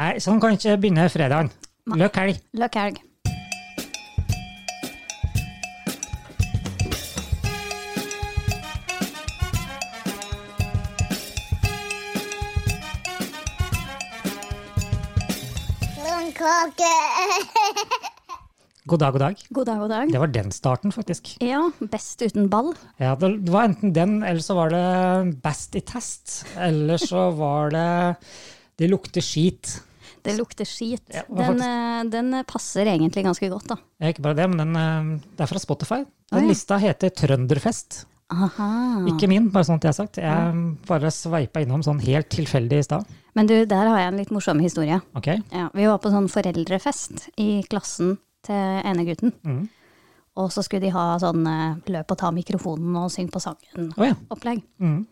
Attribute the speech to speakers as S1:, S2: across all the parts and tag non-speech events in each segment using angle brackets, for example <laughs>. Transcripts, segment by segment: S1: Nei, sånn kan ikke begynne fredagen. Løkk helg.
S2: Løkk helg.
S3: Blomkåke.
S1: God dag, god dag.
S2: God dag, god dag.
S1: Det var den starten, faktisk.
S2: Ja, best uten ball.
S1: Ja, det det var enten den, eller så var det best i test. Eller så var det Det lukter skit.
S2: Det lukter skit.
S1: Ja, det var
S2: den, eh, den passer egentlig ganske godt, da.
S1: Ja, ikke bare det, men den, eh, det er fra Spotify. Den
S2: Oi.
S1: lista heter Trønderfest.
S2: Aha.
S1: Ikke min, bare sånn at det er sagt. Jeg bare sveipa innom sånn helt tilfeldig i stad.
S2: Men du, der har jeg en litt morsom historie.
S1: Ok?
S2: Ja, vi var på sånn foreldrefest i klassen til ene gutten.
S1: Mhm.
S2: Og så skulle de ha sånn eh, løp og ta mikrofonen og synge på sangen-opplegg.
S1: Å ja. Mhm.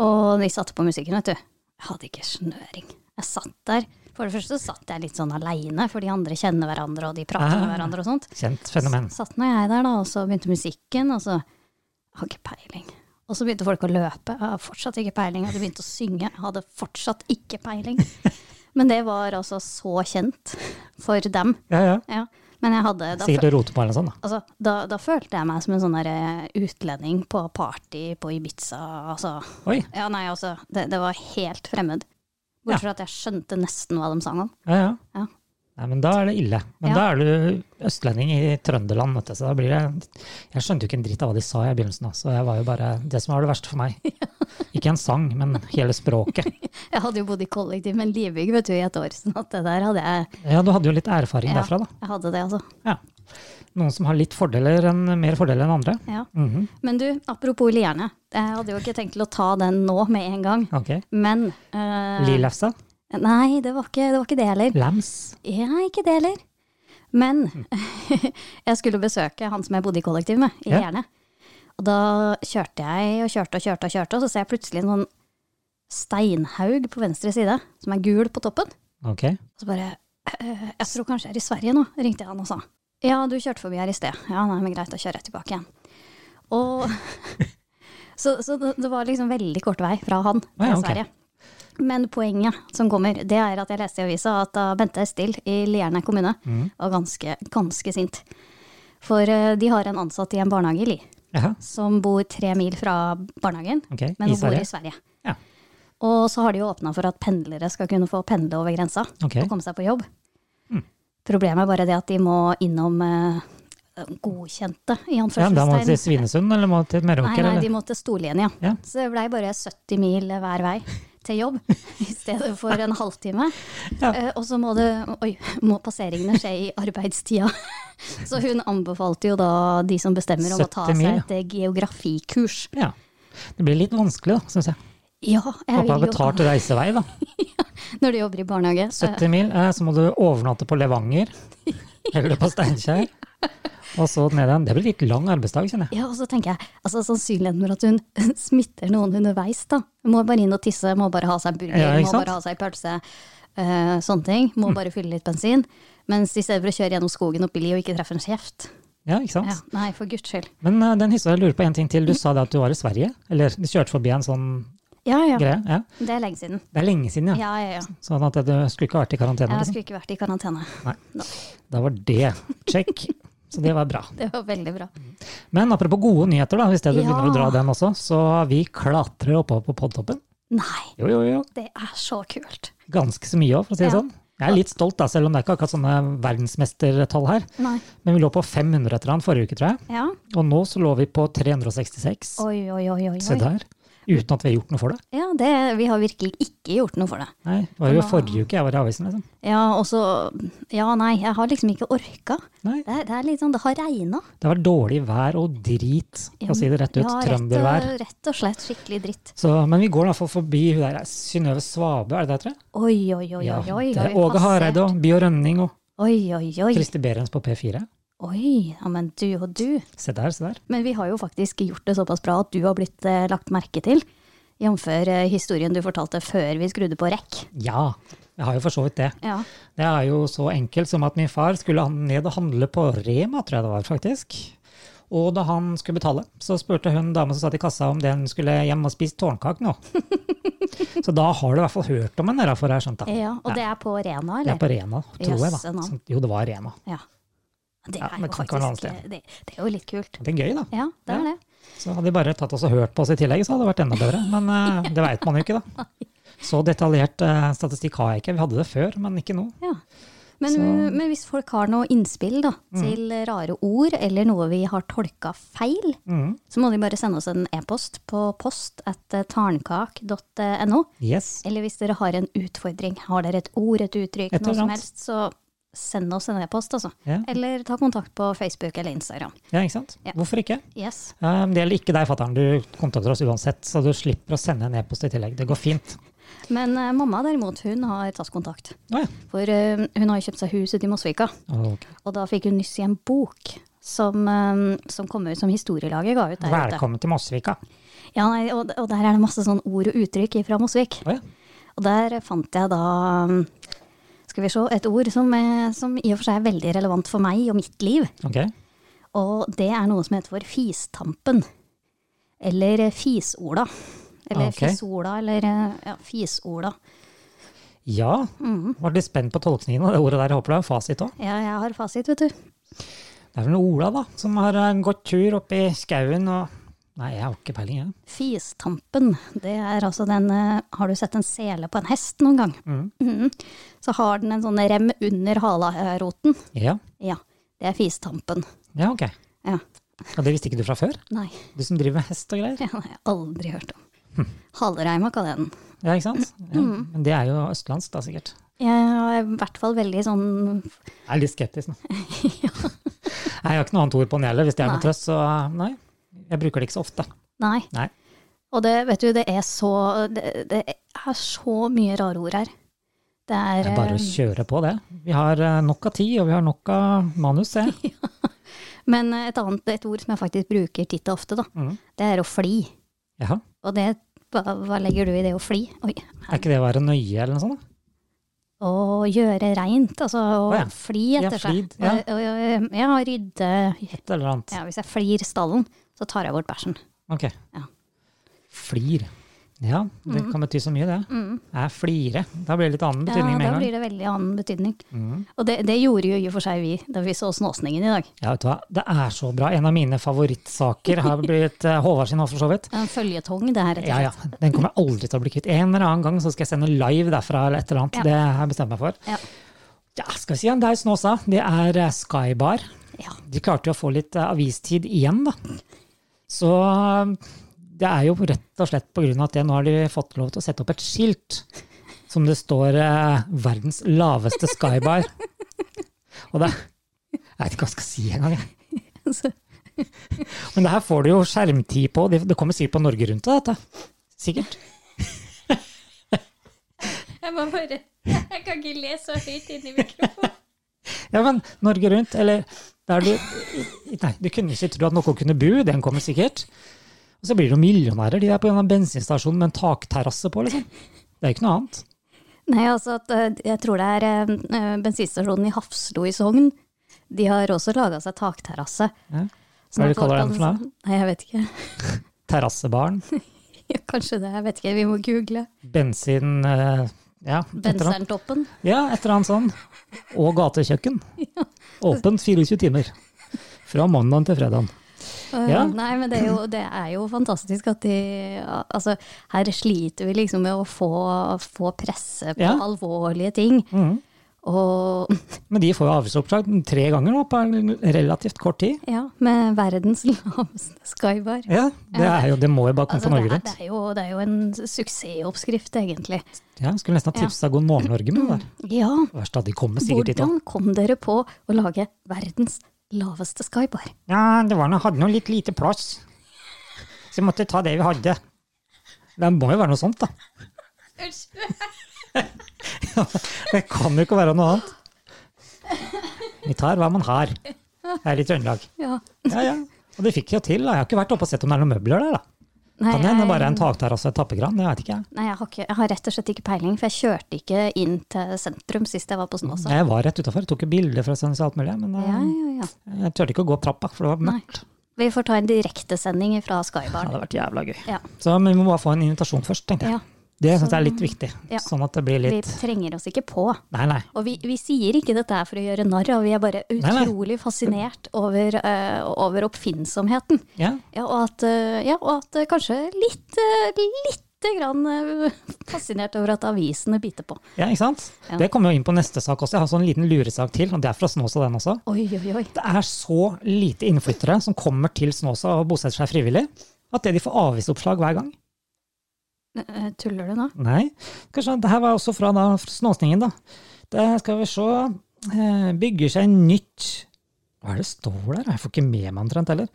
S2: Og de satte på musikken, vet du. Jeg hadde ikke snøring. Jeg satt der. For det første så satt jeg litt sånn aleine, for de andre kjenner hverandre, og de prater med
S1: Ah.
S2: hverandre og sånt.
S1: Kjent fenomen.
S2: Satt nå jeg der, da, og så begynte musikken, og så Jeg har ikke peiling. Og så begynte folk å løpe. Jeg har fortsatt ikke peiling. Jeg hadde begynt å synge. Jeg hadde fortsatt ikke peiling. Men det var altså så kjent for dem.
S1: Ja, ja.
S2: Ja. Men jeg hadde da,
S1: Sikkert du roter på eller sånn, noe sånt, da.
S2: altså, da, da følte jeg meg som en sånn der eh, utlending på party på Ibiza. Altså
S1: Oi.
S2: ja, nei, altså, det, det var helt fremmed. Bortsett fra at jeg skjønte nesten hva de sang om.
S1: Ja, ja.
S2: Ja.
S1: Nei, men da er det ille. Men
S2: Ja.
S1: da er du østlending i Trøndeland, vet du. Så da blir det Jeg skjønte jo ikke en dritt av hva de sa i begynnelsen, da, så jeg var jo bare Det som var det verste for
S2: <laughs>
S1: meg. Ikke en sang, men hele språket.
S2: Jeg hadde jo bodd i kollektiv med en livbygg vet du, i et år, sånn at det der hadde jeg.
S1: Ja, du hadde jo litt erfaring
S2: Ja,
S1: derfra, da.
S2: jeg hadde det, altså.
S1: Ja. Noen som har litt fordeler enn mer fordeler enn andre.
S2: Ja.
S1: Mhm,
S2: Men du, apropos lierne. Jeg hadde jo ikke tenkt til å ta den nå med en gang,
S1: Ok.
S2: men eh,
S1: Lillefsa.
S2: Nei, det var ikke det, var ikke det heller.
S1: Lams.
S2: Ja, ikke det heller. Men <laughs> jeg skulle besøke han som jeg bodde i kollektiv med, i
S1: Ja.
S2: Gjerne. Og da kjørte jeg og kjørte og kjørte og kjørte, og så ser jeg plutselig en sånn steinhaug på venstre side, som er gul på toppen.
S1: Ok.
S2: Og så bare <clears throat> «Eh, Jeg tror kanskje jeg er i Sverige nå, ringte jeg han og sa. Ja, du kjørte forbi her i sted. Ja, nei, men greit, da kjører jeg tilbake igjen. Og <laughs> Så, så det, det var liksom veldig kort vei fra han til
S1: Ah, Ja, ok.
S2: Sverige. Men poenget som kommer, det er at jeg leste i avisa at da Bente Estil i Lierne kommune
S1: Mm.
S2: var ganske, ganske sint. For eh, de har en ansatt i en barnehage i Li
S1: Jaha.
S2: som bor tre mil fra barnehagen,
S1: Ok, i
S2: men hun bor
S1: Sverige?
S2: i Sverige.
S1: Ja.
S2: Og så har de jo åpna for at pendlere skal kunne få pendle over grensa
S1: Ok.
S2: og komme seg på jobb. Problemet er bare det at de må innom eh, godkjente, i
S1: Ja, da må du til
S2: anførselstegn.
S1: Svinesund, eller må du til
S2: nei,
S1: Meråker?
S2: nei,
S1: eller?
S2: de må til Storlien, ja.
S1: Ja.
S2: Så det blei bare 70 mil hver vei til jobb, <laughs> i stedet for en halvtime.
S1: Ja.
S2: Eh, og så må, det, oi, må passeringene skje i arbeidstida. <laughs> Så hun anbefalte jo da de som bestemmer om å ta
S1: 70 mil,
S2: seg et eh, geografikurs.
S1: ja. Det blir litt vanskelig, da, syns jeg.
S2: Ja, jeg
S1: Pappa
S2: vil jo
S1: betalte reisevei, da.
S2: Når du jobber i barnehage. eh,
S1: 70 mil, eh, så må du overnatte på
S2: <laughs>
S1: Levanger, eller på Steinkjer. Og så ned igjen. Det blir litt lang arbeidsdag, kjenner jeg.
S2: Ja, og så tenker jeg, altså Sannsynligheten for at hun <laughs> smitter noen underveis, da. Må bare inn og tisse, må bare ha seg burger,
S1: Ja, ikke
S2: må
S1: sant?
S2: bare ha seg pølse. eh, sånne ting. Må bare fylle litt bensin. Mens i stedet for å kjøre gjennom skogen opp i li og ikke treffe en kjeft.
S1: Ja, ikke sant?
S2: Ja, nei, for guds skyld.
S1: Men eh, den hyssa, jeg lurer på en ting til. Du sa det at du var i Sverige, eller du kjørte forbi en sånn
S2: Ja, ja.
S1: greie. Ja.
S2: Det er lenge siden.
S1: Det er lenge siden, ja.
S2: Ja, ja, ja.
S1: Sånn at du skulle ikke vært i karantene.
S2: Jeg
S1: Liksom.
S2: skulle ikke vært i karantene. <laughs>
S1: Da var det check. Så det var bra.
S2: Det var veldig bra.
S1: Men apropos gode nyheter, da, hvis det du
S2: Ja.
S1: begynner å dra den også, så vi klatrer oppover på podtoppen.
S2: Nei,
S1: Jo, jo, jo.
S2: det er så kult.
S1: Ganske så mye òg, for å si det
S2: Ja.
S1: sånn. Jeg er litt stolt, da, selv om det er ikke akkurat sånne verdensmestertall her.
S2: Nei.
S1: Men vi lå på 500 etter han forrige uke, tror jeg.
S2: Ja.
S1: Og nå så lå vi på 366.
S2: Oi, oi, oi, oi.
S1: Se
S2: oi.
S1: der. Uten at vi har gjort noe for det.
S2: Ja, det, vi har virkelig ikke gjort noe for det.
S1: Nei, det var jo
S2: Wow.
S1: forrige uke jeg var i avisen, liksom.
S2: Ja, og så Ja, nei, jeg har liksom ikke orka.
S1: Nei,
S2: Det er, det er litt sånn, det har regna.
S1: det var dårlig vær og drit, for å si det rett ut. Trøndervær.
S2: Rett, eh, og- rett og slett skikkelig dritt.
S1: Så, men vi går i hvert fall forbi hun der Synnøve Svabø, er det det, tror jeg?
S2: Oi, oi, oi.
S1: Ja,
S2: oi, oi,
S1: det er
S2: oi,
S1: Åge Hareide og Bio Rønning og
S2: Oi, oi, oi.
S1: Christer Berens på P4.
S2: Oi, ja, men du og du.
S1: Se der, se der.
S2: Men vi har jo faktisk gjort det såpass bra at du har blitt eh, lagt merke til. Jf. Eh, historien du fortalte før vi skrudde på rekk.
S1: Ja, jeg har jo for så vidt det.
S2: Ja.
S1: Det er jo så enkelt som at min far skulle han ned og handle på Rema, tror jeg det var faktisk. Og da han skulle betale, så spurte hun dama som satt i kassa om den skulle hjem og spise tårnkake
S2: <laughs>
S1: nå. så da har du i hvert fall hørt om den der, for jeg har skjønt det.
S2: Ja, og det er på Rena,
S1: Det
S2: eller?
S1: er på Rena, tror jeg, da.
S2: Jøsse navn.
S1: Sånn- Jo, det var Rena.
S2: Ja. Det
S1: Ja,
S2: er jo
S1: men kan ikke være noe
S2: faktisk eh,
S1: annet
S2: det, det er jo litt kult.
S1: Det er gøy, da.
S2: Ja, det er
S1: Ja.
S2: det.
S1: Så hadde de bare tatt oss og hørt på oss i tillegg, så hadde det vært enda bedre. Men
S2: <laughs>
S1: eh, det veit man jo ikke, da. Så detaljert eh, statistikk har jeg ikke. Vi hadde det før, men ikke nå.
S2: Ja. Men,
S1: Så- Mm.
S2: men hvis folk har noe innspill da, til rare ord, eller noe vi har tolka feil,
S1: Mhm.
S2: så må de bare sende oss en e-post på post at eh, tarnkak.no.
S1: Yes.
S2: eh, Eller hvis dere har en utfordring, har dere et ord, et uttrykk,
S1: Et eller
S2: noe som
S1: annet.
S2: helst, så send oss en e-post, altså.
S1: Ja.
S2: Eller ta kontakt på Facebook eller Instagram.
S1: Ja, ikke sant?
S2: Ja.
S1: Hvorfor ikke?
S2: Yes.
S1: Eh, Det gjelder ikke deg, fatter'n. Du kontakter oss uansett, så du slipper å sende en e-post i tillegg. Det går fint.
S2: Men eh, mamma derimot, hun har tatt kontakt.
S1: Å ja.
S2: For eh, hun har jo kjøpt seg hus ute i Mosvika.
S1: Ok.
S2: Og da fikk hun nyss i en bok som, eh, som kom ut, som historielaget ga ut der ute.
S1: Velkommen til Mosvika.
S2: Ja, nei, og, og der er det masse sånn ord og uttrykk fra Mosvik.
S1: Å ja.
S2: Og der fant jeg da mm, skal vi se, et ord som, eh, som i og for seg er veldig relevant for meg og mitt liv.
S1: Ok.
S2: Og det er noe som heter for fistampen. Eller eh, fisola. Eller
S1: Ok.
S2: fisola, eller eh, ja, fisola.
S1: Ja. Var litt spent på tolkningen av det ordet der. Jeg håper det er en fasit òg.
S2: Ja, jeg har fasit, vet du.
S1: Det er vel Ola, da, som har eh, gått tur opp i skauen og Nei, jeg har ikke peiling, jeg.
S2: Fistampen, det er altså den eh, Har du sett en sele på en hest noen gang? Mhm. Så har den en sånn rem under halaroten.
S1: Ja.
S2: Ja, det er fistampen.
S1: ja, ok.
S2: Ja.
S1: Og det visste ikke du fra før?
S2: Nei, <laughs>
S1: Du som driver med hest og greier?
S2: det har jeg aldri hørt om. Halereima kaller jeg den.
S1: Ja, ikke sant? Ja. Men det er jo østlandsk, da, sikkert.
S2: Jeg er i hvert fall veldig sånn
S1: Jeg er litt <laughs> skeptisk nå. Nei, Jeg har ikke noe annet ord på den heller, hvis det er noe
S2: Nei.
S1: trøst. Så nei, jeg bruker det ikke så ofte.
S2: Nei.
S1: Nei.
S2: Og det, vet du, det er så Det, det er så mye rare ord her. Det er,
S1: Det er bare å kjøre på, det. Vi har eh, nok av tid, og vi har nok av manus. Jeg.
S2: <laughs> eh, Men et annet et ord som jeg faktisk bruker titt og ofte, da,
S1: Mhm.
S2: det er å fli.
S1: Jaha.
S2: Og det hva, hva legger du i det å fli? Oi.
S1: Er ikke det å være nøye eller noe sånt? da?
S2: Å gjøre reint, altså å
S1: Å ja.
S2: fli
S1: Ja,
S2: etter seg.
S1: flid, ja.
S2: Og- og- og- Ja, rydde
S1: Et eller annet.
S2: ja, Hvis jeg flir stallen, så tar jeg bort bæsjen.
S1: Ok.
S2: Ja. Mhm.
S1: Flir. Ja, det kan bety så mye, det. Jeg flire. Da blir det litt annen
S2: Ja,
S1: betydning med en
S2: da
S1: gang. Mhm.
S2: blir det veldig annen betydning. Og det, det gjorde jo i og for seg vi da vi så Snåsningen i dag.
S1: Ja, vet du hva? Det er så bra. En av mine favorittsaker har blitt eh, Håvard sin òg, for så vidt.
S2: En føljetong, det her. rett og
S1: Ja, ja. Den kommer jeg aldri til å bli kvitt. En eller annen gang så skal jeg sende live derfra eller et eller annet.
S2: Ja.
S1: Det har jeg bestemt meg for.
S2: Ja.
S1: Ja, skal vi si en daus nå også. Det er eh, Skybar.
S2: slett. Ja.
S1: De klarte jo å få litt eh, avistid igjen, da. Så eh, det er jo rett og slett på grunn av at det, nå har de fått lov til å sette opp et skilt som det står eh, 'Verdens laveste skybar'. Og det Jeg vet ikke hva jeg skal si engang. jeg.
S2: Så-
S1: Men det her får du jo skjermtid på. Det det kommer sikkert på Norge Rundt av dette. Sikkert.
S2: Jeg må bare Jeg kan ikke le så høyt inn i mikrofonen.
S1: Ja, men Norge Rundt, eller der du Nei, du kunne ikke tro at noen kunne bo, den kommer sikkert. Og så blir det jo millionærer, de der på en eller annen bensinstasjon med en takterrasse på, liksom. Det er jo ikke noe annet.
S2: Nei, altså, at, eh, jeg tror det er eh, eh, bensinstasjonen i Hafslo i Sogn. De har også laga seg takterrasse.
S1: Ja. Hva
S2: Sånn
S1: er det
S2: at
S1: de kaller
S2: folk
S1: den for
S2: kan-
S1: noe?
S2: Nei, jeg vet ikke. <laughs>
S1: Terrassebaren,
S2: Ja, kanskje det, jeg vet ikke. Vi må google.
S1: bensin eh, Ja, et eller annet.
S2: Benserntoppen.
S1: ja, et eller annet sånn. Og gatekjøkken. Åpent 24 timer. Fra mandag til fredag.
S2: Eh,
S1: Ja.
S2: Nei, men det er, jo, det er jo fantastisk at de Altså, her sliter vi liksom med å få, få presse på
S1: Ja. Mm.
S2: alvorlige ting. Og <laughs>
S1: Men de får jo avgiftsoppslag tre ganger nå på en relativt kort tid.
S2: ja, med verdens <laughs> laveste skybar.
S1: Ja, Det, er jo, det må jo bare komme
S2: Altså,
S1: på
S2: det,
S1: Norge
S2: er,
S1: Rundt.
S2: det, er jo, det er jo en suksessoppskrift, egentlig.
S1: Ja, skulle nesten ha tipsa God morgen Norge med det der.
S2: Ja,
S1: Verst at de kommer sikkert dit òg.
S2: hvordan kom dere på å lage verdens laveste skybar?
S1: Ja, det var noe, hadde noe litt lite plass. Så vi måtte ta det vi hadde. Det må jo være noe sånt, da. <laughs> Det kan jo ikke være noe annet. Vi tar hva man har. Her i Trøndelag.
S2: Ja.
S1: Ja, ja. Og det fikk jeg jo til. da. Jeg har ikke vært oppe og sett om det er noen møbler der. da.
S2: Nei,
S1: Kan hende
S2: jeg-
S1: bare en takterrasse og et tappekran. Det veit ikke jeg.
S2: Nei, jeg har, ikke, jeg har rett og slett ikke peiling, for jeg kjørte ikke inn til sentrum sist jeg var på Snåsa.
S1: Jeg var rett utafor. Tok jo bilder fra Sandnes og alt mulig. Men
S2: Ja,
S1: eh,
S2: ja, ja.
S1: jeg turte ikke å gå opp trappa, for det var
S2: Nei.
S1: mørkt.
S2: Vi får ta en direktesending fra
S1: Det
S2: Skybarn.
S1: hadde vært jævla gøy.
S2: Ja.
S1: Så, men vi må bare få en invitasjon først, tenkte jeg.
S2: Ja.
S1: Det syns jeg er litt viktig.
S2: Ja.
S1: Sånn at det blir
S2: Vi
S1: litt
S2: trenger oss ikke på.
S1: Nei, nei.
S2: Og vi, vi sier ikke dette her for å gjøre narr av, vi er bare
S1: nei.
S2: utrolig fascinert over, eh, over oppfinnsomheten.
S1: Ja.
S2: Ja, og at, eh, ja, og at eh, kanskje litt, eh, lite grann eh, <laughs> fascinert over at avisene biter på.
S1: ja, ikke sant?
S2: Ja.
S1: Det kommer jo inn på neste sak også. Jeg har sånn liten luresak til, og det er fra Snåsa, den også.
S2: Oi, oi, oi.
S1: Det er så lite innflyttere som kommer til Snåsa og bosetter seg frivillig, at det de får avvisoppslag hver gang.
S2: Eh, Tuller du nå?
S1: Nei. Kanskje det her var også fra da, Snåsningen, da. Det skal vi se. Eh, Bygger seg nytt Hva er det står der? Jeg får ikke med meg omtrent heller.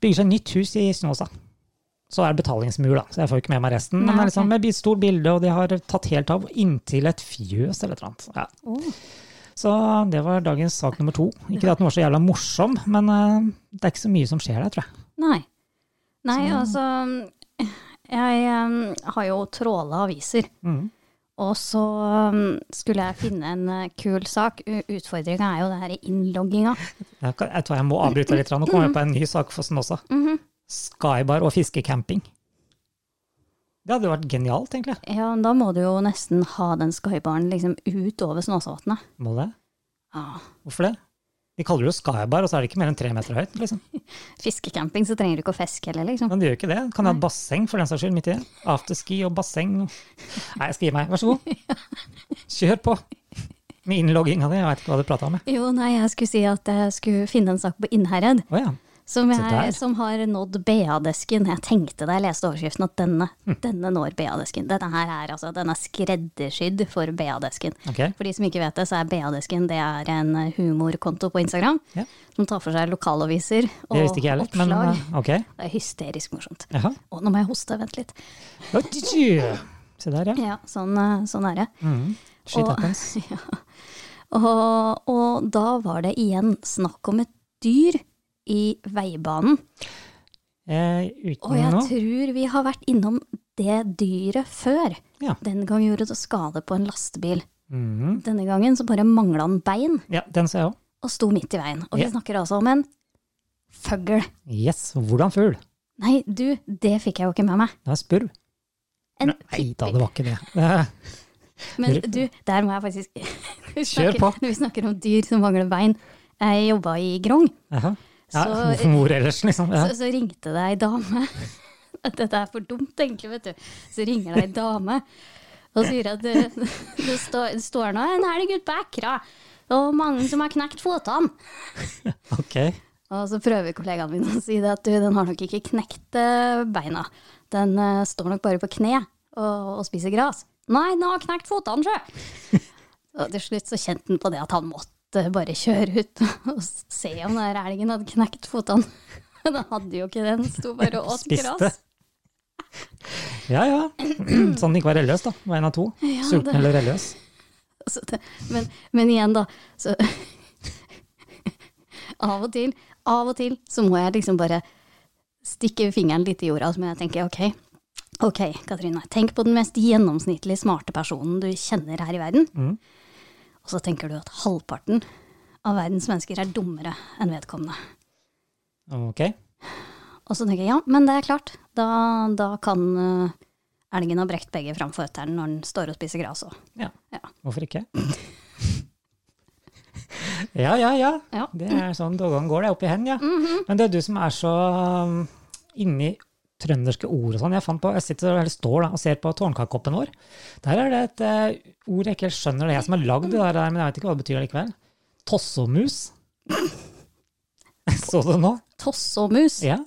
S1: Bygger seg nytt hus i Snåsa. Så er det betalingsmur, da. Så jeg får ikke med meg resten.
S2: Nei,
S1: Men det er liksom
S2: ok.
S1: med bi- stort bilde, og de har tatt helt av inntil et fjøs eller et eller annet. Ja.
S2: Å,
S1: Så det var dagens sak nummer to. Ikke at den var så jævla morsom, men eh, det er ikke så mye som skjer der, tror jeg.
S2: Nei. Nei, altså Jeg eh, har jo tråla aviser.
S1: Mm.
S2: Og så um, skulle jeg finne en eh, kul sak. Utfordringa er jo det her innlogginga.
S1: Jeg, kan- jeg tror jeg må avbryte litt, og komme på en ny sak for Snåsa.
S2: Mhm.
S1: Skybar og fiskecamping. Det hadde jo vært genialt, egentlig.
S2: Ja, men da må du jo nesten ha den skybaren liksom utover Snåsavatnet.
S1: Må det?
S2: Ah,
S1: Hvorfor det? De kaller det jo skybar, og så er det ikke mer enn tre meter høyt. liksom.
S2: fiskecamping, så trenger du ikke å fiske heller, liksom.
S1: Men det gjør ikke det. Kan jeg ha et basseng for den saks skyld midt i det? Afterski og basseng. Nei, jeg skal gi meg. Vær så god. Kjør på. Med innlogginga di. Jeg veit ikke hva du prata om. jeg.
S2: Jo, nei, jeg skulle si at jeg skulle finne en sak på Innherred
S1: Å ja.
S2: som,
S1: Se der.
S2: jeg, som har nådd BA-desken. Jeg tenkte da jeg leste overskriften at denne, denne når BA-desken. Denne her er altså, den er skreddersydd for BA-desken.
S1: Ok.
S2: For de som ikke vet det, så er BA-desken det er en eh, humorkonto på Instagram
S1: Ja.
S2: som tar for seg lokalaviser og
S1: Det visste ikke jeg heller. Men
S2: oppslag.
S1: eh, ok.
S2: Det er hysterisk morsomt.
S1: Jaha.
S2: Å, nå må jeg hoste, vent litt.
S1: Se der, ja.
S2: Ja, sånn, eh, sånn er det.
S1: Mm. Shit
S2: Og-
S1: happens.
S2: Og, <laughs> og da var det igjen snakk om et dyr i veibanen.
S1: Eh, uten
S2: Og jeg
S1: noe.
S2: tror vi har vært innom det dyret før.
S1: Ja.
S2: Den gang gjorde det skade på en lastebil.
S1: Mhm.
S2: Denne gangen så bare mangla han bein
S1: Ja, den ser jeg òg.
S2: og sto midt i veien. Og vi
S1: Ja.
S2: snakker altså om en føgl.
S1: Yes, hvordan fugl?
S2: Nei, du, det fikk jeg jo ikke med meg.
S1: Det er spurv.
S2: En
S1: Nei da, det var ikke <laughs> det. Eh,
S2: Men du, der må jeg faktisk <laughs> Vi
S1: Kjør
S2: snakker-
S1: på.
S2: Når <laughs> vi snakker om dyr som mangler bein. Jeg jobba i Grong,
S1: jaha. Ja, <laughs>
S2: Så-
S1: hvor ellers, liksom? Ja.
S2: så, så ringte det ei dame. <laughs> Dette er for dumt, egentlig, vet du. Så ringer det ei dame og sier at det, <laughs> det står, står nå en helg ute på Ekra, og mange som har knekt føttene.
S1: Ok.
S2: Og så prøver kollegaen min å si det at du, den har nok ikke knekt eh, beina. Den eh, står nok bare på kne og, og spiser gras. Nei, den har knekt fotene sjø. Og til slutt så kjente han på det at han måtte bare kjøre ut og se om den der elgen hadde knekt fotene. <laughs> Men den hadde jo ikke det, den sto bare og åt
S1: Spiste.
S2: gras.
S1: <clears throat> Ja <clears throat> ja. Sånn den ikke var religiøs, da. Det var en av to. Sulten
S2: det-
S1: eller religiøs.
S2: Så det, men, men igjen, da. Så <laughs> av og til, av og til så må jeg liksom bare stikke fingeren litt i jorda, så må jeg tenke ok. Ok, Katrine. Tenk på den mest gjennomsnittlig smarte personen du kjenner her i verden.
S1: Mhm.
S2: Og så tenker du at halvparten av verdens mennesker er dummere enn vedkommende.
S1: Ok.
S2: Og så tenker jeg ja, men det er klart. Da, da kan eh, elgen ha brekt begge fram føttene når den står og spiser gras òg.
S1: Ja.
S2: Ja.
S1: Hvorfor ikke? <clears throat> Ja ja ja.
S2: Ja.
S1: Det er sånn doggene går, det er oppi hen, ja.
S2: Mhm.
S1: Men det er du som er så um, inni trønderske ord og sånn. Jeg fant på, jeg sitter eller står da, og ser på tårnkakekoppen vår. Der er det et eh, ord jeg ikke helt skjønner. Det er jeg som har lagd det der, men jeg vet ikke hva det betyr likevel. Tossomus. <laughs> Så du det nå?
S2: Tossomus.
S1: Ja.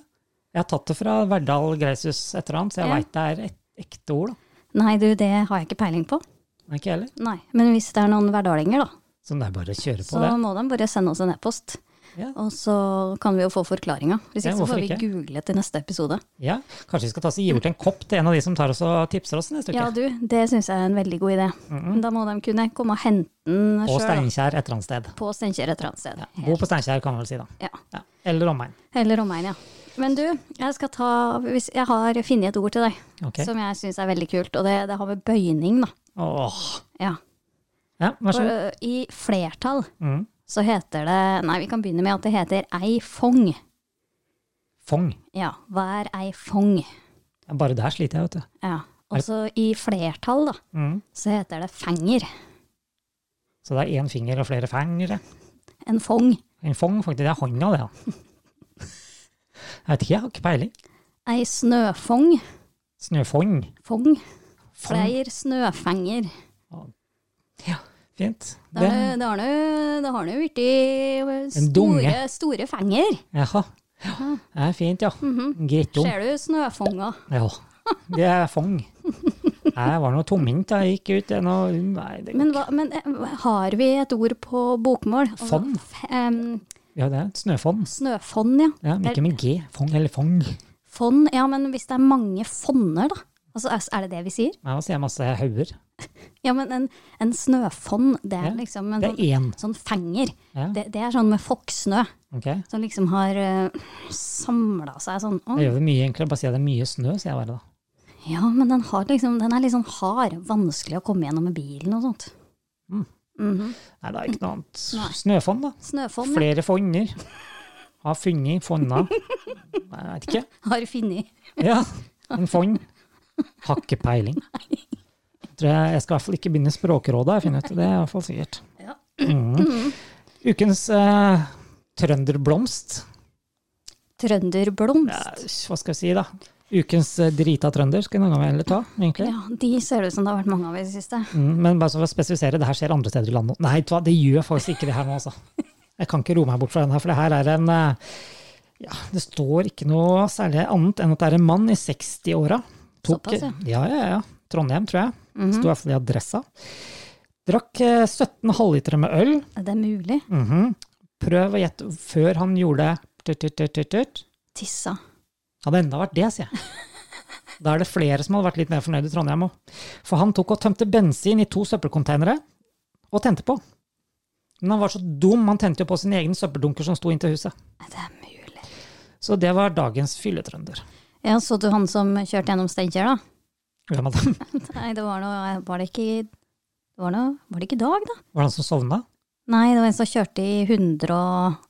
S1: Jeg har tatt det fra Verdal Greishus et eller annet, så jeg
S2: Ja.
S1: veit det er et ekte ord, da.
S2: Nei, du, det har jeg ikke peiling på.
S1: Nei, ikke heller.
S2: Nei, men hvis det er noen hverdalinger, da,
S1: Så det er bare å kjøre på
S2: så
S1: det.
S2: må de bare sende oss en e-post.
S1: Ja.
S2: Og så kan vi jo få forklaringa. Hvis
S1: Ja,
S2: ikke så
S1: hvorfor
S2: får vi
S1: ikke?
S2: google til neste episode.
S1: Ja. Kanskje vi skal ta oss og gi bort en kopp til en av de som tar oss og tipser oss neste uke.
S2: Ja, du, det syns jeg er en veldig god idé. Da må de kunne komme og hente den
S1: og
S2: sjøl.
S1: Steinkjer et eller annet sted.
S2: På Steinkjer et eller annet sted.
S1: Bo på Steinkjer, kan man vel si, da.
S2: Ja.
S1: Ja. Eller omegn.
S2: Eller omegn, ja. Men du, jeg skal ta hvis Jeg har funnet et ord til deg
S1: Ok.
S2: som jeg syns er veldig kult, og det, det har med bøyning, da.
S1: Åh.
S2: Ja.
S1: Ja, vær
S2: For,
S1: så god.
S2: ø, I flertall
S1: Mm.
S2: så heter det Nei, vi kan begynne med at det heter ei fong.
S1: Fong.
S2: Ja, hver ei fong.
S1: Ja, Bare der sliter jeg, vet du.
S2: Ja. Også i flertall, da,
S1: Mm.
S2: så heter det fenger.
S1: Så det er én finger og flere fingre.
S2: En fong.
S1: En fong, faktisk. Det er hånda, det. ja. Jeg vet ikke, jeg har ikke peiling.
S2: Ei snøfong.
S1: Snøfong.
S2: Fong.
S1: Fong.
S2: Fleir snøfenger.
S1: Fint.
S2: Da har
S1: Det,
S2: det- da har det- da har det jo blitt
S1: En dunge.
S2: store, store fenger.
S1: jaha. Ja, Mhm. det er fint, ja. Grittom.
S2: Ser du snøfonga?
S1: Ja. Det er fong. Jeg var noe tungvint da jeg gikk ut. Det er noe, nei, det,
S2: Men, hva, men eh, har vi et ord på bokmål? Altså,
S1: Fond?
S2: f- em,
S1: ja, det er et snøfond.
S2: snøfond, ja.
S1: Ja, men ikke med G. Fong eller fong.
S2: Fond, ja, men hvis det er mange fonner, da? Altså, er- er det det vi sier?
S1: Ja, og så er det masse hauger.
S2: Ja, men en, en snøfond, det
S1: Ja,
S2: er liksom en
S1: Det er
S2: sånn,
S1: én.
S2: sånn fenger.
S1: Ja,
S2: Det, det er sånn med fokksnø,
S1: ok.
S2: som liksom har uh, samla seg sånn. Å,
S1: Det gjør det mye enklere. Bare si at det er mye snø, sier jeg bare da.
S2: ja, men den, har liksom, den er liksom hard. Vanskelig å komme gjennom med bilen og sånt.
S1: Mm.
S2: Mhm.
S1: Nei, det er ikke noe annet.
S2: Nei.
S1: Snøfond, da.
S2: Snøfond ja.
S1: Flere fonner. Har funnet,
S2: <laughs>
S1: fonna. Nei, Jeg vet ikke.
S2: har funnet
S1: Ja, en fond. Har ikke peiling. Tror jeg, jeg skal i hvert fall ikke begynne Språkrådet, jeg finner ut. Det er i hvert fall sikkert.
S2: Ja.
S1: Mhm. Ukens eh, trønderblomst. Ja,
S2: trønderblomst.
S1: hva skal jeg si, da? Ukens eh, drita trønder skal noen av dere heller ta, egentlig.
S2: Ja, de ser det ut som det har vært mange av i det siste.
S1: Mm, men bare så for å spesifisere, det her skjer andre steder i landet. Nei, vet du hva, det gjør faktisk ikke det her nå, altså. Jeg kan ikke roe meg bort fra den her, for det her er en eh, Ja, det står ikke noe særlig annet enn at det er en mann i 60-åra. Tok-
S2: Såpass, ja. Mm.
S1: Ja, ja, ja. Trondheim, tror jeg.
S2: Mhm.
S1: Sto i hvert fall i adressa. Drakk eh, 17 halvlitere med øl.
S2: Er det mulig?
S1: Mhm. Prøv å gjette før han gjorde tut, tut, tut, tut, tut.
S2: Tissa.
S1: Hadde enda vært det, sier jeg. Da er det flere som hadde vært litt mer fornøyd i Trondheim òg. For han tok og tømte bensin i to søppelkonteinere og tente på. Men han var så dum, han tente jo på sin egen søppeldunker som sto inntil huset.
S2: Er det mulig?
S1: Så det var dagens fylletrønder.
S2: Ja, så du han som kjørte gjennom Steinkjer, da?
S1: Hvem av dem?
S2: Nei, det var noe Var det ikke det var, noe, var det ikke i dag, da?
S1: Var det han som sovna?
S2: Nei, det var en som kjørte i 100 og,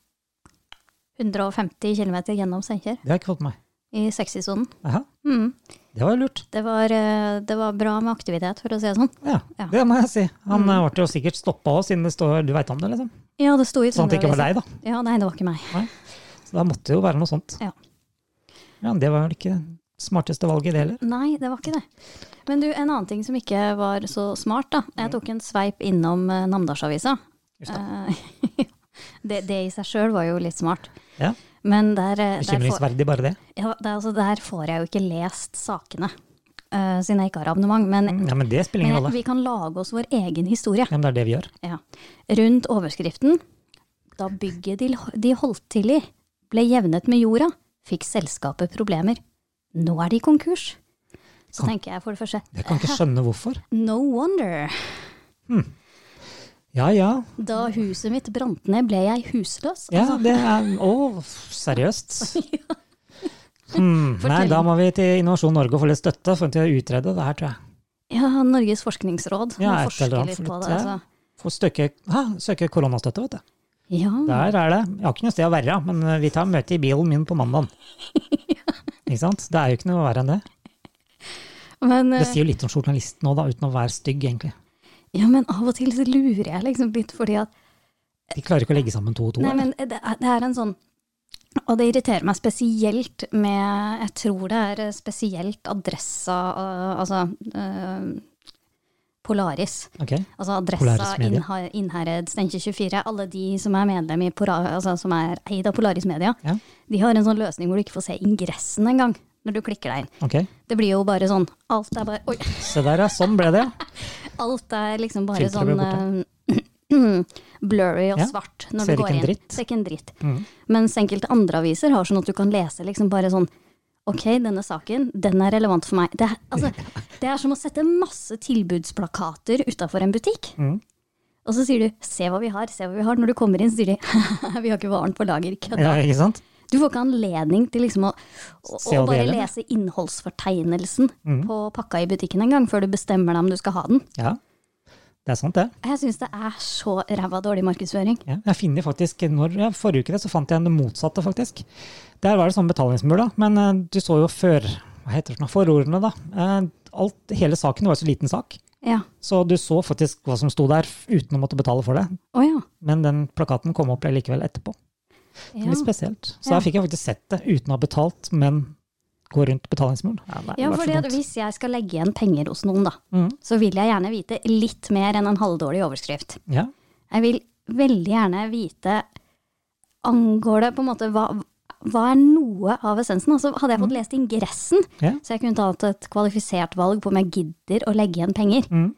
S2: 150 km gjennom Steinkjer.
S1: Det har jeg ikke fått med meg.
S2: I 60-sonen.
S1: Aha,
S2: Mm.
S1: det var jo lurt.
S2: Det, var, eh, det var bra med aktivitet, for å si det sånn.
S1: Ja,
S2: Ja. Mm.
S1: det må jeg si. Han eh, ble jo sikkert stoppa òg, siden det står 'du veit om det', liksom.
S2: Ja, det sto i
S1: Sånn at det ikke var
S2: Trønderavisa.
S1: deg, da.
S2: Ja, nei, det var ikke meg.
S1: Så da måtte det jo være noe sånt.
S2: Ja.
S1: ja det var vel ikke det smarteste valget, det heller.
S2: Nei, det var ikke det. Men du, en annen ting som ikke var så smart, da. Jeg tok en sveip innom eh, Namdalsavisa.
S1: Mm. Just da.
S2: Eh, <laughs> det, det i seg sjøl var jo litt smart.
S1: Ja.
S2: Men der, eh, der får-
S1: Bekymringsverdig, bare det.
S2: Ja, det, er altså, der får jeg jo ikke lest sakene, eh, siden jeg ikke har abonnement. Men,
S1: Ja, men det spiller ingen
S2: men
S1: rolle.
S2: Eh, vi kan lage oss vår egen historie.
S1: Ja, men det er det vi gjør.
S2: Ja. Rundt overskriften Da bygget de, de holdt til i ble jevnet med jorda, fikk selskapet problemer. Nå er de konkurs. Så
S1: Kan-
S2: tenker jeg for det første
S1: Jeg kan ikke skjønne hvorfor.
S2: No wonder.
S1: Ja, ja.
S2: Da huset mitt brant ned, ble jeg husløs. Altså,
S1: ja det er, å, <laughs> seriøst? Hmm, nei, da må vi til Innovasjon Norge og få litt støtte for å utrede det her, tror jeg.
S2: Ja, Norges forskningsråd.
S1: Ja,
S2: må
S1: et
S2: forske
S1: eller annet
S2: litt
S1: for
S2: på
S1: litt,
S2: det. Altså.
S1: Få søke, hæ, søke koronastøtte, vet du.
S2: Ja.
S1: Der er det. Jeg har ikke noe sted å være, men eh, vi tar møte i bilen min på <laughs> mandag. Ikke sant? Det er jo ikke noe verre enn det.
S2: Men, eh,
S1: Det sier jo litt om journalisten nå, da, uten å være stygg, egentlig.
S2: Ja, men av og til så lurer jeg liksom litt fordi at
S1: De klarer ikke å legge sammen to og to.
S2: Nei,
S1: eller?
S2: men det er, det er en sånn Og det irriterer meg spesielt med Jeg tror det er eh, spesielt adressa øh, Altså øh, Polaris.
S1: Ok.
S2: Altså adressa
S1: Polaris Media.
S2: Innha- Innherred, Steinkjer 24. Alle de som er medlem i Pora, altså, som er eid av Polaris Media,
S1: Ja.
S2: de har en sånn løsning hvor du ikke får se ingressen engang når du klikker deg inn.
S1: ok.
S2: Det blir jo bare sånn Alt er bare Oi!
S1: Se der, ja. Sånn ble det, ja.
S2: Alt er liksom bare
S1: Filteret ble
S2: sånn eh, <clears throat> blurry og
S1: Ja.
S2: svart når
S1: Ser
S2: du
S1: ikke
S2: går
S1: en
S2: inn.
S1: dritt.
S2: Ser ikke en dritt.
S1: Mhm.
S2: Mens enkelte andre aviser har sånn at du kan lese liksom bare sånn Ok, denne saken, den er relevant for meg. Det er,
S1: <laughs>
S2: altså, det er som å sette masse tilbudsplakater utafor en butikk.
S1: Mhm.
S2: Og så sier du 'se hva vi har', se hva vi har. Når du kommer inn, så sier de <laughs> 'vi har ikke varen på
S1: <laughs>
S2: lager'. kødda».
S1: ja. Ikke sant?
S2: Du får ikke anledning til liksom å, å,
S1: Se
S2: å
S1: hva det
S2: bare
S1: gjelder.
S2: lese
S1: Mm.
S2: innholdsfortegnelsen på pakka i butikken engang, før du bestemmer deg om du skal ha den.
S1: Ja. Det er sant, det.
S2: Jeg syns det er så ræva dårlig markedsføring.
S1: Ja, jeg finner faktisk, når, ja, Forrige uke så fant jeg det motsatte, faktisk. Der var det sånn betalingsmur, da. Men eh, du så jo før, hva heter det, for noe, forordene, da. Eh, alt, hele saken var jo så liten sak.
S2: Ja.
S1: Så du så faktisk hva som sto der f- uten å måtte betale for det.
S2: Å ja.
S1: Men den plakaten kom opp likevel etterpå.
S2: Ja.
S1: Litt spesielt. Så
S2: Ja.
S1: jeg fikk jeg faktisk sett det uten å ha betalt, men gå rundt betalingsmuren. Ja, det er
S2: ja,
S1: vært
S2: for
S1: så
S2: det, at
S1: dumt.
S2: hvis jeg skal legge igjen penger hos noen, da,
S1: Mhm.
S2: så vil jeg gjerne vite litt mer enn en halvdårlig overskrift.
S1: Ja.
S2: Jeg vil veldig gjerne vite Angår det på en måte hva, hva er noe av essensen? Altså, hadde jeg fått lest ingressen,
S1: Mm. Ja.
S2: så jeg kunne tatt et kvalifisert valg på om jeg gidder å legge igjen penger,
S1: Mhm.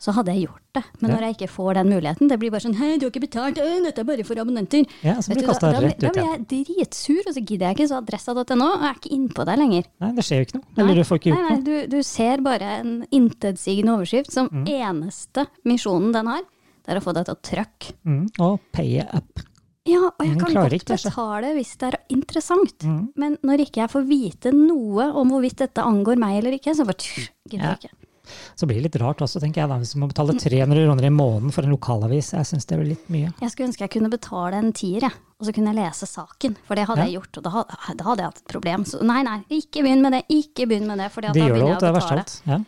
S2: så hadde jeg gjort det. Men
S1: Ja.
S2: når jeg ikke får den muligheten, det blir bare sånn Hei, du har ikke betalt, øh, dette er bare for abonnenter.
S1: ja, så
S2: Vet
S1: blir
S2: du,
S1: du
S2: da,
S1: kasta
S2: da, blir-
S1: rett
S2: da
S1: ut
S2: blir
S1: igjen.
S2: jeg dritsur, og så gidder jeg ikke, så adressa.no er ikke innpå der lenger.
S1: Nei, det skjer jo ikke noe. Eller du får ikke
S2: Nei,
S1: gjort
S2: nei,
S1: noe.
S2: du, du ser bare en intetsigende overskrift som
S1: Mm.
S2: eneste misjonen den har. Det er å få deg til å trøkke.
S1: Mm. Og paye up.
S2: Ja, og jeg
S1: Den
S2: kan
S1: klarer
S2: godt
S1: ikke, altså.
S2: betale hvis det er interessant.
S1: Mm.
S2: Men når ikke jeg får vite noe om hvorvidt dette angår meg eller ikke, så bare tsk, gidder
S1: Ja.
S2: jeg ikke.
S1: Så blir det litt rart også, tenker jeg. da, Hvis du må betale 300 kroner i måneden for en lokalavis. Jeg syns det blir litt mye.
S2: Jeg skulle ønske jeg kunne betale en tier, jeg. Og så kunne jeg lese saken, for det hadde
S1: Ja.
S2: jeg gjort. Og da hadde, da hadde jeg hatt et problem. Så nei, nei, ikke begynn med det. Ikke begynn med det, for da
S1: Det gjør det jo,
S2: begynner jeg
S1: det
S2: å
S1: er verst av
S2: betale.
S1: alt. Ja.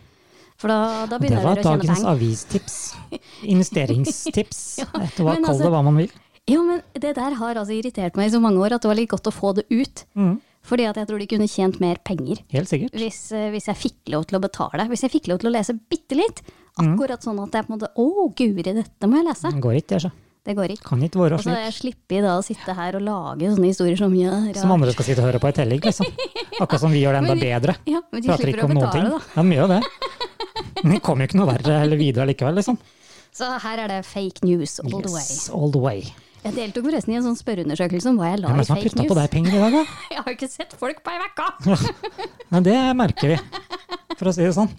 S2: For da, da
S1: Det
S2: begynner
S1: var
S2: dere å tjene
S1: dagens
S2: penger.
S1: avistips.
S2: <laughs>
S1: Investeringstips. Etter hva
S2: men
S1: kall
S2: altså-
S1: det hva man vil.
S2: Ja, men det der har altså irritert meg i så mange år at det var litt godt å få det ut.
S1: Mhm.
S2: Fordi at jeg tror de kunne tjent mer penger
S1: Helt sikkert.
S2: hvis, eh, hvis jeg fikk lov til å betale. Hvis jeg fikk lov til å lese bitte litt.
S1: Mm.
S2: Akkurat sånn at jeg på en måte Å, guri, dette må jeg lese.
S1: Det går ikke, det. så.
S2: Det går ikke.
S1: Kan ikke være
S2: Og så
S1: Mm. slik.
S2: jeg slipper da å sitte her og lage sånne historier som ja,
S1: Som andre skal sitte og høre på i tillegg, liksom. Akkurat som vi gjør det enda
S2: <laughs> Men vi-
S1: bedre.
S2: Ja, men de
S1: Prater
S2: slipper
S1: ikke
S2: å
S1: om noen ting.
S2: betale, da.
S1: Ja, mye av det. Men det kommer jo ikke noe verre eller videre likevel, liksom.
S2: Så her er det fake news all the way.
S1: Yes, all the way.
S2: Jeg deltok forresten i en sånn spørreundersøkelse om hva jeg la
S1: Hvem er
S2: i
S1: det som har
S2: fake
S1: putta på
S2: news.
S1: deg penger i dag,
S2: <laughs>
S1: da?
S2: Jeg har ikke sett folk på ei uke!
S1: Nei, det merker vi, for å si det sånn.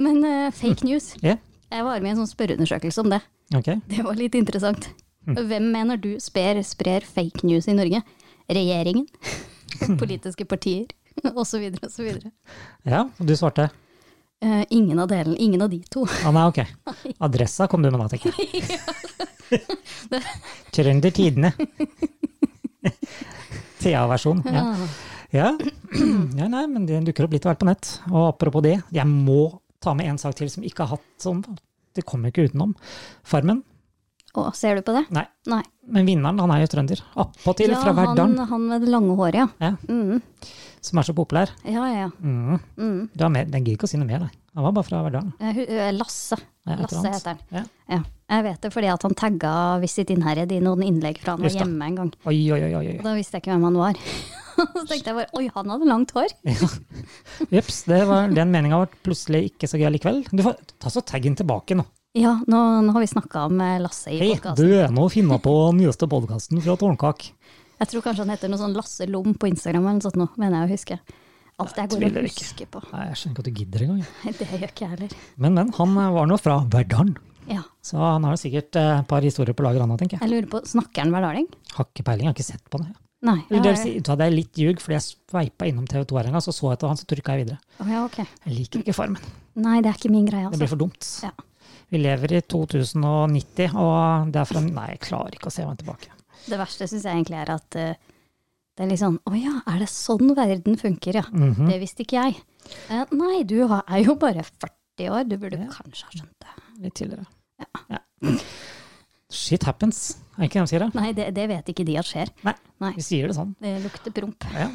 S2: Men eh, fake news. <laughs>
S1: Ja,
S2: Jeg var med i en sånn spørreundersøkelse om det.
S1: ok.
S2: Det var litt interessant.
S1: Hm.
S2: Hvem mener du sper, sprer fake news i Norge?
S1: <laughs>
S2: Regjeringen? Politiske partier? Og så videre og så videre.
S1: Ja, og du svarte.
S2: Eh, ingen av delene. Ingen av de to.
S1: Ah, nei, ok. Adressa kom du med da, tenker jeg. Trønder Tidene. TA-versjon. Ja. Ja. ja, nei, men det dukker opp litt av hvert på nett. Og apropos det, jeg må ta med en sak til som ikke har hatt sånn. Det kommer jo ikke utenom. Farmen?
S2: Å, ser du på det?
S1: Nei.
S2: Nei.
S1: Men vinneren, han er jo trønder. Appåtil fra
S2: han,
S1: Verdalen,
S2: han med det lange håret, ja.
S1: Ja.
S2: Mm.
S1: som er så populær.
S2: Ja, ja, ja.
S1: Mm.
S2: Mm.
S1: Du har med, den gidder ikke å si noe mer, nei. Han var bare fra Verdalen.
S2: Eh, hu- eh, Lasse.
S1: Ja, et eller
S2: Lasse
S1: annet.
S2: heter han.
S1: Ja.
S2: Ja. Jeg vet det fordi at han tagga Visit Innherred i noen innlegg fra han var
S1: Uff da.
S2: hjemme en gang.
S1: Oi, oi, oi, oi.
S2: Og da visste jeg ikke hvem han var. <laughs> Så tenkte jeg bare oi, han hadde langt hår.
S1: Jeps, det var den meninga vår plutselig ikke så gøy likevel. Du får ta så taggen tilbake nå.
S2: Ja, nå, nå har vi snakka om eh, Lasse i
S1: Hei,
S2: podkasten.
S1: du nå finner jeg på den nyeste podkasten fra Tårnkak.
S2: Jeg tror kanskje han heter noe sånn Lasse Lom på Instagram eller noe sånt nå, mener jeg å huske. Alt jeg går
S1: tviler
S2: og
S1: jeg
S2: husker på. <laughs>
S1: Nei, jeg skjønner ikke at du gidder engang.
S2: Det gjør ikke jeg heller.
S1: Men, men, han eh, var nå fra Verdalen,
S2: Ja.
S1: så han har jo sikkert eh, et par historier på lager, han òg, tenker jeg.
S2: Jeg lurer på, snakker han hverdaling?
S1: Har ikke peiling, jeg har ikke sett på det.
S2: Nei.
S1: Eller, det, vil
S2: jeg-
S1: si, vet du hva, det er litt ljug, fordi jeg sveipa innom TV 2 her en gang, så så jeg etter han, så trykka jeg videre.
S2: Å ja, ok.
S1: Jeg liker ikke Farmen.
S2: Nei, det er ikke min greie,
S1: Det
S2: altså.
S1: blir for dumt.
S2: Ja.
S1: Vi lever i 2090, og det er fra Nei, jeg klarer ikke å se meg tilbake.
S2: Det verste syns jeg egentlig er at eh, det er litt sånn å ja, er det sånn verden funker, ja.
S1: Mhm.
S2: Det visste ikke jeg. Eh, nei, du har- er jo bare 40 år, du burde kanskje ha skjønt det.
S1: Litt tidligere. Ja. Shit happens, er ikke det de sier? det?
S2: Nei, det, det vet ikke de at skjer.
S1: Nei,
S2: Nei.
S1: vi sier det sånn.
S2: Det lukter promp.
S1: Ja.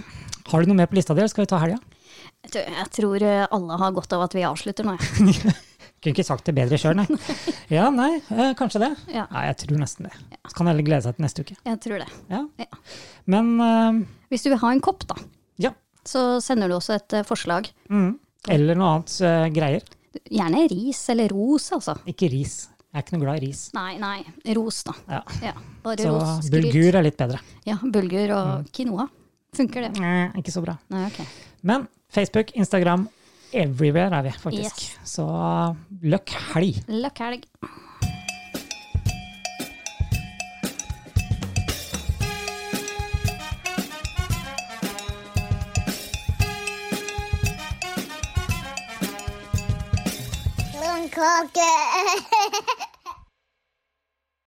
S1: Har du noe mer på lista di, eller skal vi ta helga?
S2: Jeg tror- Jeg tror eh, alle har godt av at vi avslutter nå, jeg.
S1: Kunne ikke sagt det bedre sjøl, nei.
S2: <laughs>
S1: Ja, nei, eh, kanskje det.
S2: Ja.
S1: Nei, jeg tror nesten det. Så kan heller glede seg til neste uke.
S2: Jeg tror det.
S1: Ja.
S2: Ja.
S1: Men eh,
S2: Hvis du vil ha en kopp, da,
S1: ja.
S2: så sender du også et eh, forslag.
S1: Mm. Eller noe annet eh, greier.
S2: Gjerne ris eller ros, altså.
S1: Ikke ris. Jeg er ikke noe glad i ris.
S2: Nei, nei, ros, da.
S1: Ja.
S2: Ja, bare
S1: Så
S2: ros. Skryt.
S1: bulgur Mm. er litt bedre.
S2: Ja, bulgur og quinoa. Funker det?
S1: Eh, ikke så bra.
S2: Nei, ok.
S1: Men Facebook, Instagram, everywhere er vi faktisk.
S2: Yes.
S1: Så eh, løkk helg.
S2: Løkkhelg.
S3: Klunk Blomkåke.